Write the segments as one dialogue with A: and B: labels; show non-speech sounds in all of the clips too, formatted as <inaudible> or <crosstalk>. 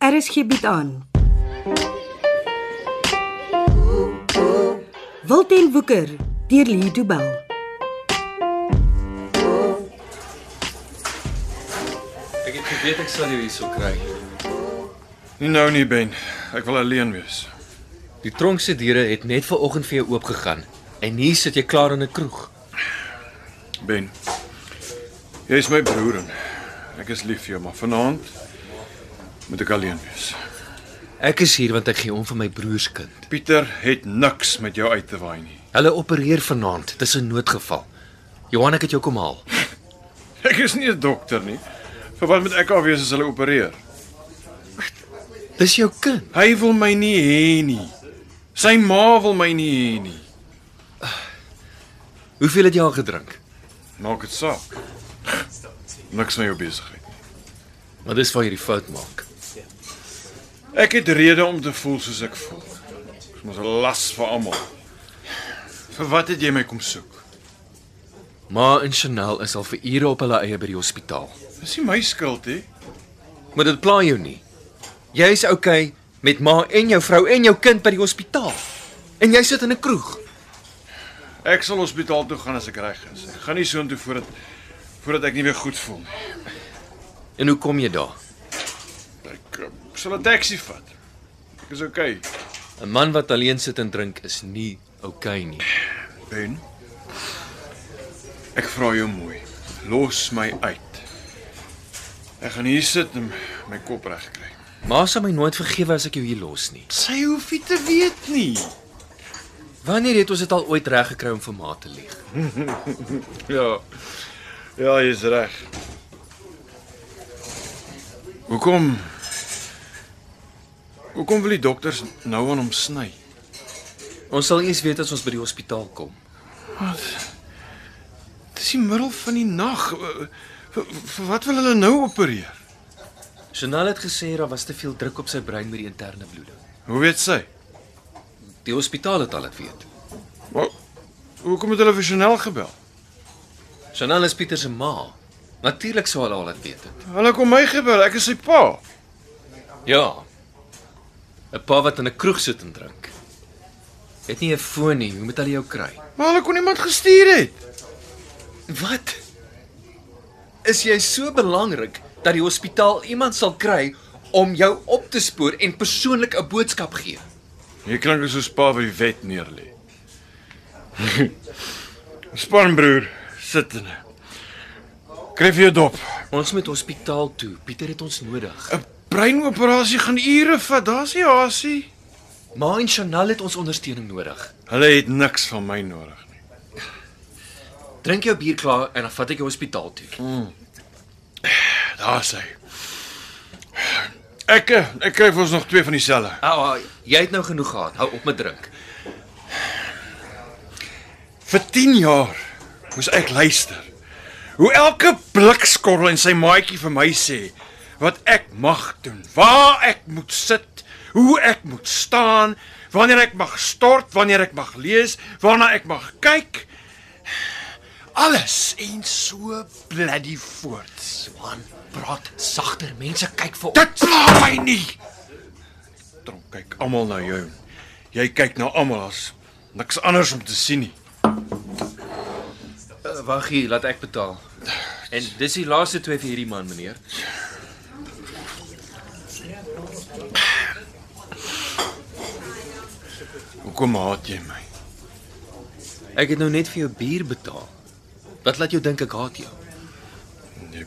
A: RSG bied Er aan. Wilten Woeker deur Lee Du Bell.
B: Ek het geweet ek sal jou hierso kry.
C: Nie nou nie, Ben. Ek wil alleen wees.
B: Die tronk se deure het net vanoggend vir jou oopgegaan en hier sit jy klaar in 'n kroeg.
C: Ben. Jy is my broer en ek is lief vir jou, maar vanaand moet ek alleen wees.
B: Ek is hier want ek gee om vir my broerskind.
C: Pieter het niks met jou uit te waai nie. <laughs>
B: Hulle opereer vanaand, dis 'n noodgeval. Johan, ek het jou kom haal.
C: Ek is nie 'n dokter nie. Vir wat moet ek afwees as hulle opereer?
B: Dis jou kind.
C: Hy wil my nie hê nie. Sy ma wil my nie hê nie.
B: Hoeveel het jy al gedrink?
C: Maak dit saak. <laughs> Niks met jou besigheid.
B: Maar dis waar jy die fout maak.
C: Ek het rede om te voel soos ek voel. Ek moet 'n las vir almal. Vir wat het jy my kom soek?
B: Ma en Chanel is al vir ure op hulle eie by die hospitaal.
C: Dis nie my skuld hè.
B: Maar dit pla jou nie. Jy is okay met ma en jou vrou en jou kind by die hospitaal. En jy sit in 'n kroeg.
C: Ek sal hospitaal toe gaan as ek reg is. Ek gaan nie soontoe voordat voordat ek nie weer goed voel nie.
B: En hoe kom jy daar?
C: Ek, eh, ek sal 'n taxi vat. Ek is okay.
B: 'n Man wat alleen sit en drink is nie okay nie.
C: Ben. Ek vra jou mooi. Los my uit. Ek gaan hier sit en my kop reg kry.
B: Ma sal my nooit vergewe as ek jou hier los nie.
C: Sy hoef nie te weet nie.
B: Wanneer het ons dit al ooit reg gekry om vir ma te lieg?
C: Ja. Ja, jy's reg. Hoekom Hoekom wil die dokters nou aan hom sny?
B: Ons sal eers weet as ons by die hospitaal kom.
C: Dis die middel van die nag. Eh, Vir, vir wat wil hulle nou opereer?
B: Chanel het gesê daar was te veel druk op sy brein met die interne bloeding.
C: Hoe weet sy?
B: Die hospitaal het al dit weet.
C: Wel, hoekom het hulle vir Chanel gebel?
B: Chanel is Pieter se ma. Natuurlik sou hulle al dit weet het.
C: Hulle kom my gebel. Ek is sy pa.
B: Ja. 'n Pa wat in 'n kroeg sit en drink. Het nie 'n foon nie, hoe moet hulle jou kry?
C: Maar hulle kon iemand gestuur het.
B: Wat? Is jy so belangrik dat die hospitaal iemand sal kry om jou op te spoor en persoonlik 'n boodskap gee?
C: Jy klink asoos pa wat die wet neerlê. <laughs> Span broer, sit in. Kryf jou dop.
B: Ons moet hospitaal toe. Pieter het ons nodig.
C: 'n Breinoperasie gaan ure vat. Daar's nie hasie.
B: Ma en Chanel het ons ondersteuning nodig.
C: Hulle het niks van my nodig nie.
B: Drink jou bier klaar en dan vat ek jou hospitaal toe.
C: Daar's hy. Ek eh, ek kry vir ons nog twee van dieselfde.
B: Ah, jy het nou genoeg gehad. Hou op met drink.
C: Vir 10 jaar moes ek luister. Hoe elke blikskorrel en sy maatjie vir my sê wat ek mag doen, waar ek moet sit, hoe ek moet staan, wanneer ek mag stort, wanneer ek mag lees, waarna ek mag kyk. Alles en so bloody voorts.
B: Swan, praat sagter. Mense kyk vir ons.
C: Dit pla my nie. Trom kyk almal na jou. Jy kyk na almal as niks anders om te sien nie.
B: Uh, Wag hier, laat ek betaal. En dis die laaste twee vir hierdie man, meneer.
C: Hoekom haat jy my?
B: Ek het nou net vir jou bier betaal. Wat laat jou dink ek haat jou?
C: Jy,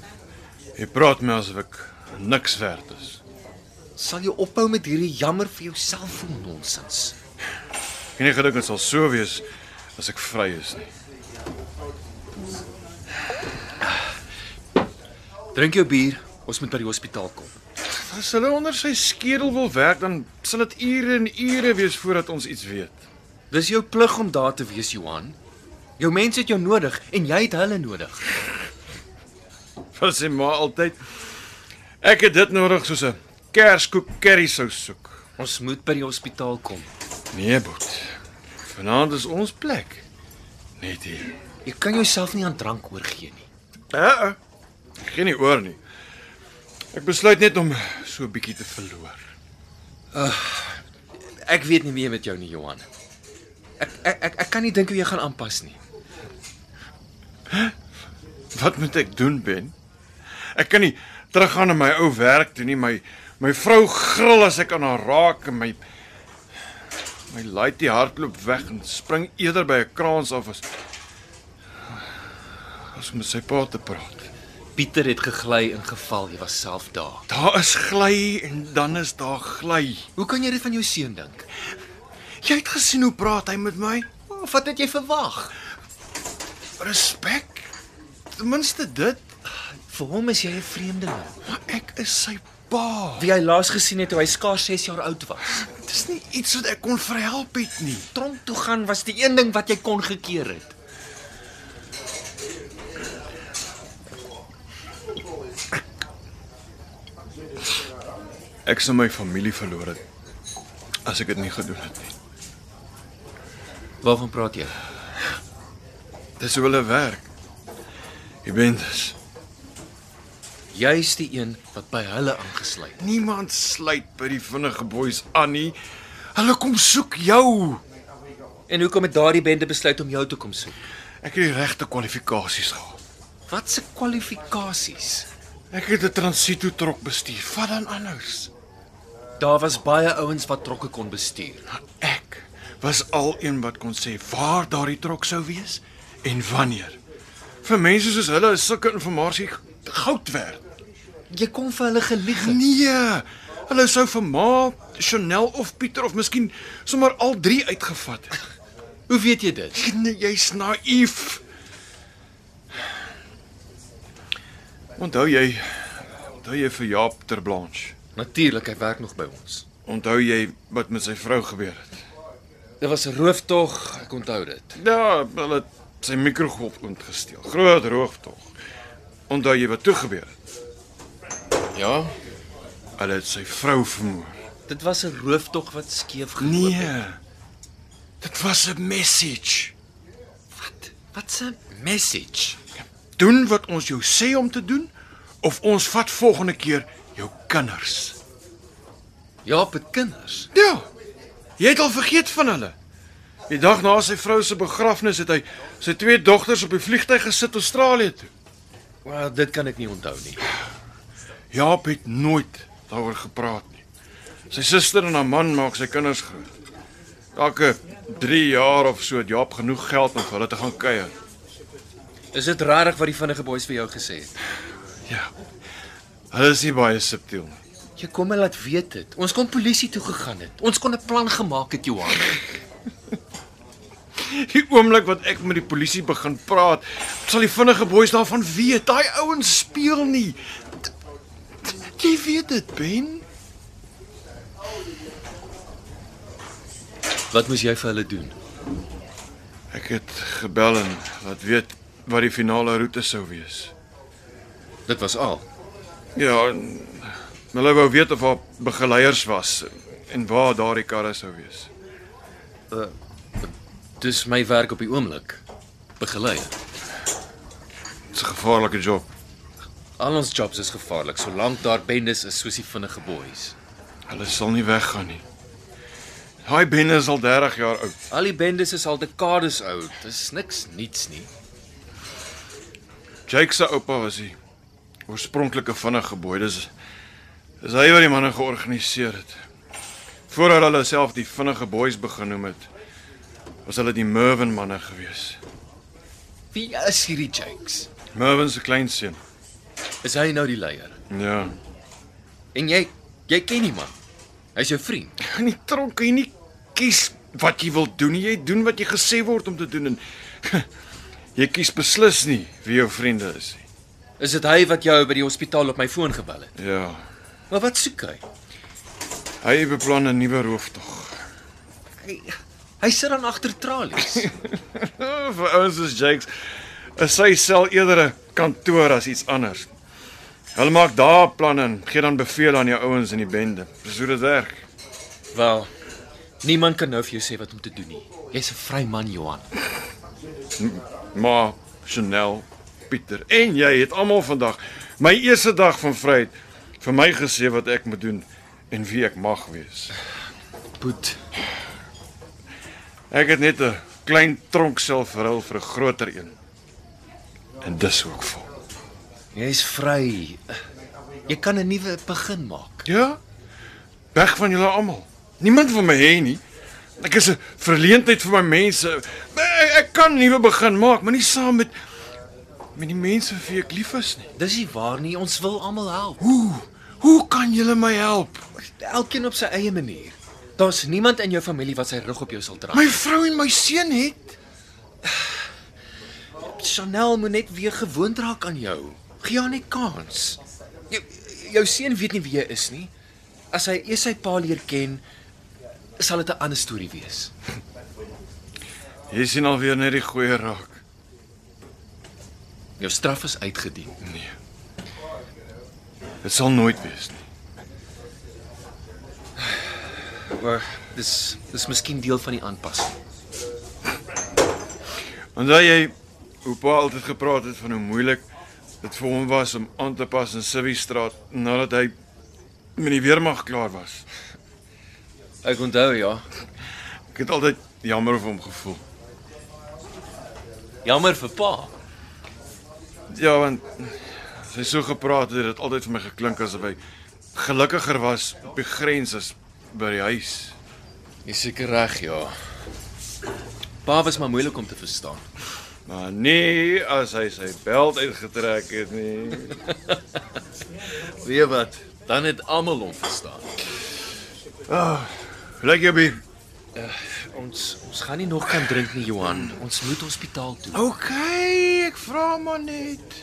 C: jy praat my asof ek niks werd is.
B: Sal jy ophou met hierdie jammer vir jouself voel nonsens?
C: Ek nie gedink dit sal so wees as ek vry is nie.
B: Drink jou bier. Ons moet by die hospitaal kom.
C: As hulle onder sy skedel wil werk, dan sal dit ure en ure wees voordat ons iets weet.
B: Dis jou plig om daar te wees, Johan. Jou mense het jou nodig en jy het hulle nodig.
C: Wat sê maar altyd ek het dit nodig soos 'n kerskoek curry sous soek.
B: Ons moet by die hospitaal kom.
C: Nee, boet. Vanaand is ons plek. Net hier.
B: Jy kan jouself nie aan drank oorgee nie.
C: Uh -uh. Geen nie oor nie. Ek besluit net om so 'n bietjie te verloor.
B: Ek weet nie meer met jou nie, Johan. Ek ek ek, ek kan nie dink hoe jy gaan aanpas nie.
C: Wat moet ek doen, Ben? Ek kan nie teruggaan na my ou werk toe nie. My my vrou gril as ek aan haar raak en my my laaitie hardloop weg en spring eerder by 'n kraans af as as om met sy pa te praat.
B: Pieter het gegly en geval, jy was self daar.
C: Daar is gly en dan is daar gly.
B: Hoe kan jy dit van jou seun dink?
C: Jy het gesien hoe praat hy met my?
B: Of wat het jy verwag?
C: Respek. Ten minste dit.
B: Vir hom is jy 'n vreemdeling.
C: Maar ek is sy pa.
B: Wie hy laas gesien het toe hy skaars 6 jaar oud was.
C: Dit is nie iets wat ek kon verhelp het nie.
B: Tronk toe gaan was die een ding wat jy kon gekeer het.
C: Ek sou my familie verloor het as ek dit nie gedoen het nie.
B: Waarvan praat jy?
C: Dis hoe hulle werk. Jy ben dis.
B: Jy's die een wat by hulle aangesluit.
C: Niemand sluit by die vinnige boeis aan nie. Hulle kom soek jou.
B: En hoekom het daardie bende besluit om jou toe kom soek?
C: Ek het die regte kwalifikasies gehad.
B: Wat se kwalifikasies?
C: Ek het 'n transito trok bestuur. Vat dan anders.
B: Daar was baie ouens wat trokke kon bestuur.
C: Ek was al een wat kon sê waar daardie trok sou wees en wanneer. Vir mense soos hulle is sulke inligting goud werd.
B: Jy kon vir hulle gelieg het.
C: Nee, hulle sou vir Ma, Chanel of Pieter of miskien sommer al drie uitgevat het.
B: Hoe weet jy dit?
C: Nee, Jy's naïef. Onthou jy onthou jy vir Jaap ter Blanche?
B: Natuurlik, hy werk nog by ons.
C: Onthou jy wat met sy vrou gebeur het?
B: Dit was 'n rooftog, ek onthou dit.
C: Ja, hulle het sy mikrogolf ontgesteel. Groot rooftog. Onthou jy wat toe gebeur het?
B: Ja,
C: Hulle het sy vrou vermoor.
B: dit was 'n rooftog wat skeef geloop het.
C: Nee. Dit was 'n message.
B: Wat? Wat 'n message.
C: Doen wat ons jou sê om te doen of ons vat volgende keer jou kinders.
B: Ja, met kinders.
C: Ja. Jy het al vergeet van hulle. Die dag na sy vrou se begrafnis het hy sy twee dogters op die vliegtyg gesit Australië toe.
B: Maar dit kan ek nie onthou nie.
C: Jaap het nooit daaroor gepraat nie. Sy suster en haar man maak sy kinders groot. Elke 3 jaar of so het Jaap genoeg geld om vir hulle te gaan kuier.
B: Is dit rarig wat die vinnige boeis vir jou gesê het?
C: Ja. Hulle is nie baie subtiel nie.
B: Jy kom en laat weet dit. Ons kon polisie toe gegaan het. Ons kon 'n plan gemaak het, Johan.
C: Die oomblik wat ek met die polisie begin praat, sal die vinnige boeis daarvan weet. Daai ouens speel nie. Jy weet dit, Ben.
B: Wat moes jy vir hulle doen?
C: Ek het gebel en laat weet wat die finale roete sou wees.
B: Dit was al.
C: Ja, en hulle wou weet of haar begeleiers was en waar daardie karre sou wees.
B: Dis my werk op die oomblik. Begelei.
C: Dit's 'n gevaarlike job.
B: Al ons jobs is gevaarlik solank daar bendes is soos die vinnige boeis.
C: Hulle sal nie weggaan nie. Daai Ben is al 30 jaar oud.
B: Al die bendes is al dekades oud. Dis niks niets nie.
C: Jake se oupa was die oorspronklike vinnige boy. Dis is hy wat die manne georganiseer het. Voordat hulle self die vinnige boys begin noem het, was hulle die Mervin manne gewees.
B: Wie is hierdie Jakes?
C: Mervin se kleinseun.
B: Is hy nou die leier?
C: Ja.
B: En jy jy ken die man. Hy's jou vriend.
C: In die tronk kan jy nie kies wat jy wil doen nie. Jy doen wat jy gesê word om te doen en <laughs> jy kies beslis nie wie jou vriende is nie.
B: Is dit hy wat jou by die hospitaal op my foon gebel het?
C: Ja.
B: Maar wat soek hy?
C: Hy beplan 'n nuwe rooftog. <laughs>
B: Hy, hy sit dan agter tralies.
C: Vir ouens soos Jakes is sy sel eerder 'n kantoor as iets anders. Hulle maak daar planne en gee dan beveel aan die ouens in die bende. Dis hoe dit werk.
B: Wel, niemand kan nou vir jou sê wat om te doen nie. Jy's 'n vry man, Johan.
C: Maar Chanel, Pieter en jy het almal vandag my eerste dag van vryheid vir my gesê wat ek moet doen en wie ek mag wees.
B: Boet.
C: Ek het net 'n klein tronk self verhul vir 'n groter een. En dis ook vol.
B: Jy's vry. Jy kan 'n nuwe begin maak.
C: Ja. Weg van julle almal. Niemand wil my hê nie. Ek is 'n verleentheid vir my mense. Ek, ek kan nuwe begin maak, maar nie saam met met die mense vir wie ek lief is nie.
B: Dis nie waar nie. Ons wil almal help.
C: Hoe? Hoe kan julle my help?
B: Elkeen op sy eie manier. Daar's niemand in jou familie wat sy rug op jou sal draai.
C: My vrou en my seun het
B: Chanel moet net weer gewoond raak aan jou. Gee haar net kans. Jou jou seun weet nie wie jy is nie. As hy eers sy pa leer ken, sal dit 'n ander storie wees.
C: Jy sien alweer net die goeie raak.
B: Jou straf is uitgedien.
C: Nee. Dit sal nooit wees nie.
B: Maar dis dis miskien deel van die aanpassing.
C: Onthou jy hoe pa altyd gepraat het van hoe moeilik dit vir hom was om aan te pas in Civi Straat nadat hy met die weermag klaar was.
B: Ek onthou ja.
C: Ek het altyd jammer vir hom gevoel.
B: Jammer vir pa.
C: Ja, want as hy so gepraat het, het dit altyd vir my geklink asof hy gelukkiger was op die grens as by die huis.
B: Jy seker reg ja. Pa was maar moeilik om te verstaan.
C: Maar nee, as hy sy beld uitgetrek het nie.
B: Weet wat? Dan het almal hom verstaan.
C: Lyk jou bier.
B: Ons ons gaan nie nog kan drink nie, Johan. Ons moet hospitaal toe.
C: OK, ek vra maar net.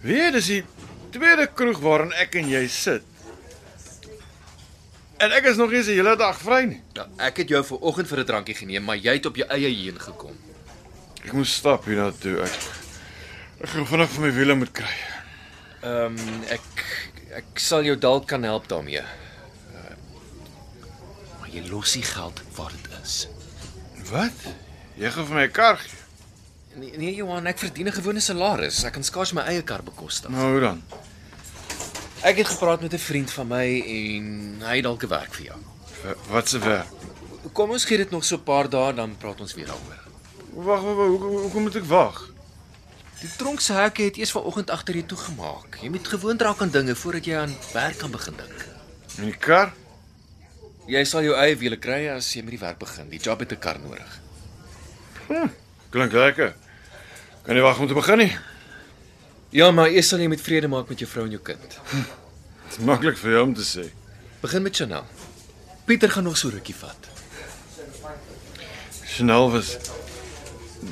C: Weer is die tweede kroeg waarin ek en jy sit. En ek is nog nie se hele dag vry nie.
B: Ja, ek het jou ver oggend vir 'n drankie geneem, maar jy het op jou eie heen gekom.
C: Ek moet stap hiernatoe. Ek ek gaan vinnig vir my wiele moet kry.
B: Ehm um, ek ek sal jou dalk kan help daarmee. Uh, maar jy los die geld waar dit is.
C: Wat? Jy gaan vir my 'n kar gee?
B: Nee, nee Johan, ek verdien 'n gewone salaris. Ek kan skaars my eie kar bekostig.
C: Nou hoe dan?
B: Ek het gepraat met 'n vriend van my en hy het dalk 'n werk vir jou.
C: W- Wat se werk?
B: Kom ons gee dit nog so 'n paar dae dan praat ons weer daaroor.
C: Wag, wag, wag, hoekom hoekom moet ek wag?
B: Die tronk se hekke het eers vanoggend agter jou toegemaak. Jy moet gewoond raak aan dinge voordat jy aan werk kan begin dink.
C: In die kar?
B: Jy sal jou eie wiele kry as jy met die werk begin. Die job het 'n kar nodig.
C: Klink lekker. Kan nie wag om te begin nie.
B: Ja, maar eers sal jy met vrede maak met jou vrou en jou kind.
C: Dit is maklik vir jou om te sê.
B: Begin met Chanel. Pieter gaan nog so rukkie vat.
C: Chanel was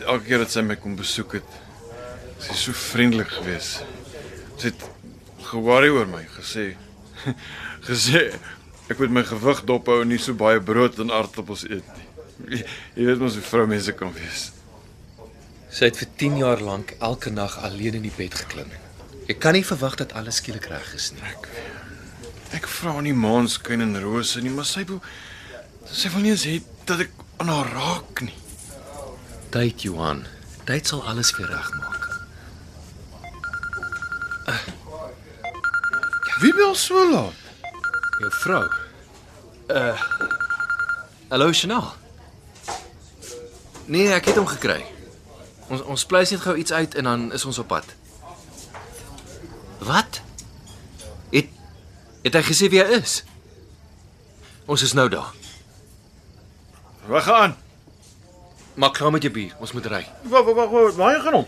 C: elke keer dat sy my kom besoek het, sy so vriendelik geweest. Sy het geworry oor my gesê <laughs> gesê ek moet my gewig dophou en nie so baie brood en aardappels eet nie. Jy- Jy weet mos hoe vroumense kan wees.
B: Sy het vir 10 jaar lank elke nag alleen in die bed geklim. Jy kan nie verwag dat alles skielik reg is nie.
C: Ek vra nie maanskyn en rose nie, maar sy wil sy wil nie eens hê dat ek aan haar raak nie.
B: Tyd, Johan. Tyd sal alles weer regmaak.
C: Eh, Wie wil so laat?
B: Jou vrou. Uh Hallo Chanel. Nee, ek het hom gekry. Ons ons pleis net gou iets uit en dan is ons op pad. Wat? Het het hy gesê wie hy is? Ons is nou daar.
C: Wag aan.
B: Maak klaar met jou bier. Ons moet ry.
C: Wag wag wag, waar gaan hom?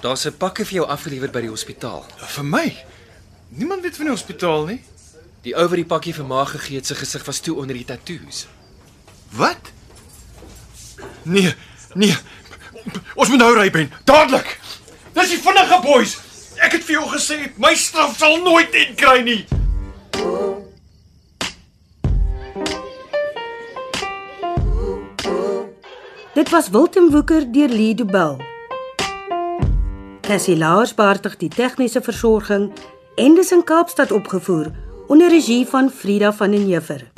B: Daar's 'n pakkie vir jou afgelewer by die hospitaal.
C: Vir my. Niemand weet van die hospitaal nie.
B: Die ou wat die pakkie vir ma gegee het, se gesig was toe onder die tatoeëns.
C: Wat? Nee, nee. Ons moet nou ry ben, dadelik. Dis die vinnige boys. Ek het vir jou gesê my straf sal nooit en kry nie.
A: Dit was Wilten Woeker deur Lido Bell. Cassie Lars beheer die tegniese versorging en dis in Kaapstad opgevoer onder regie van Frida van den Heever.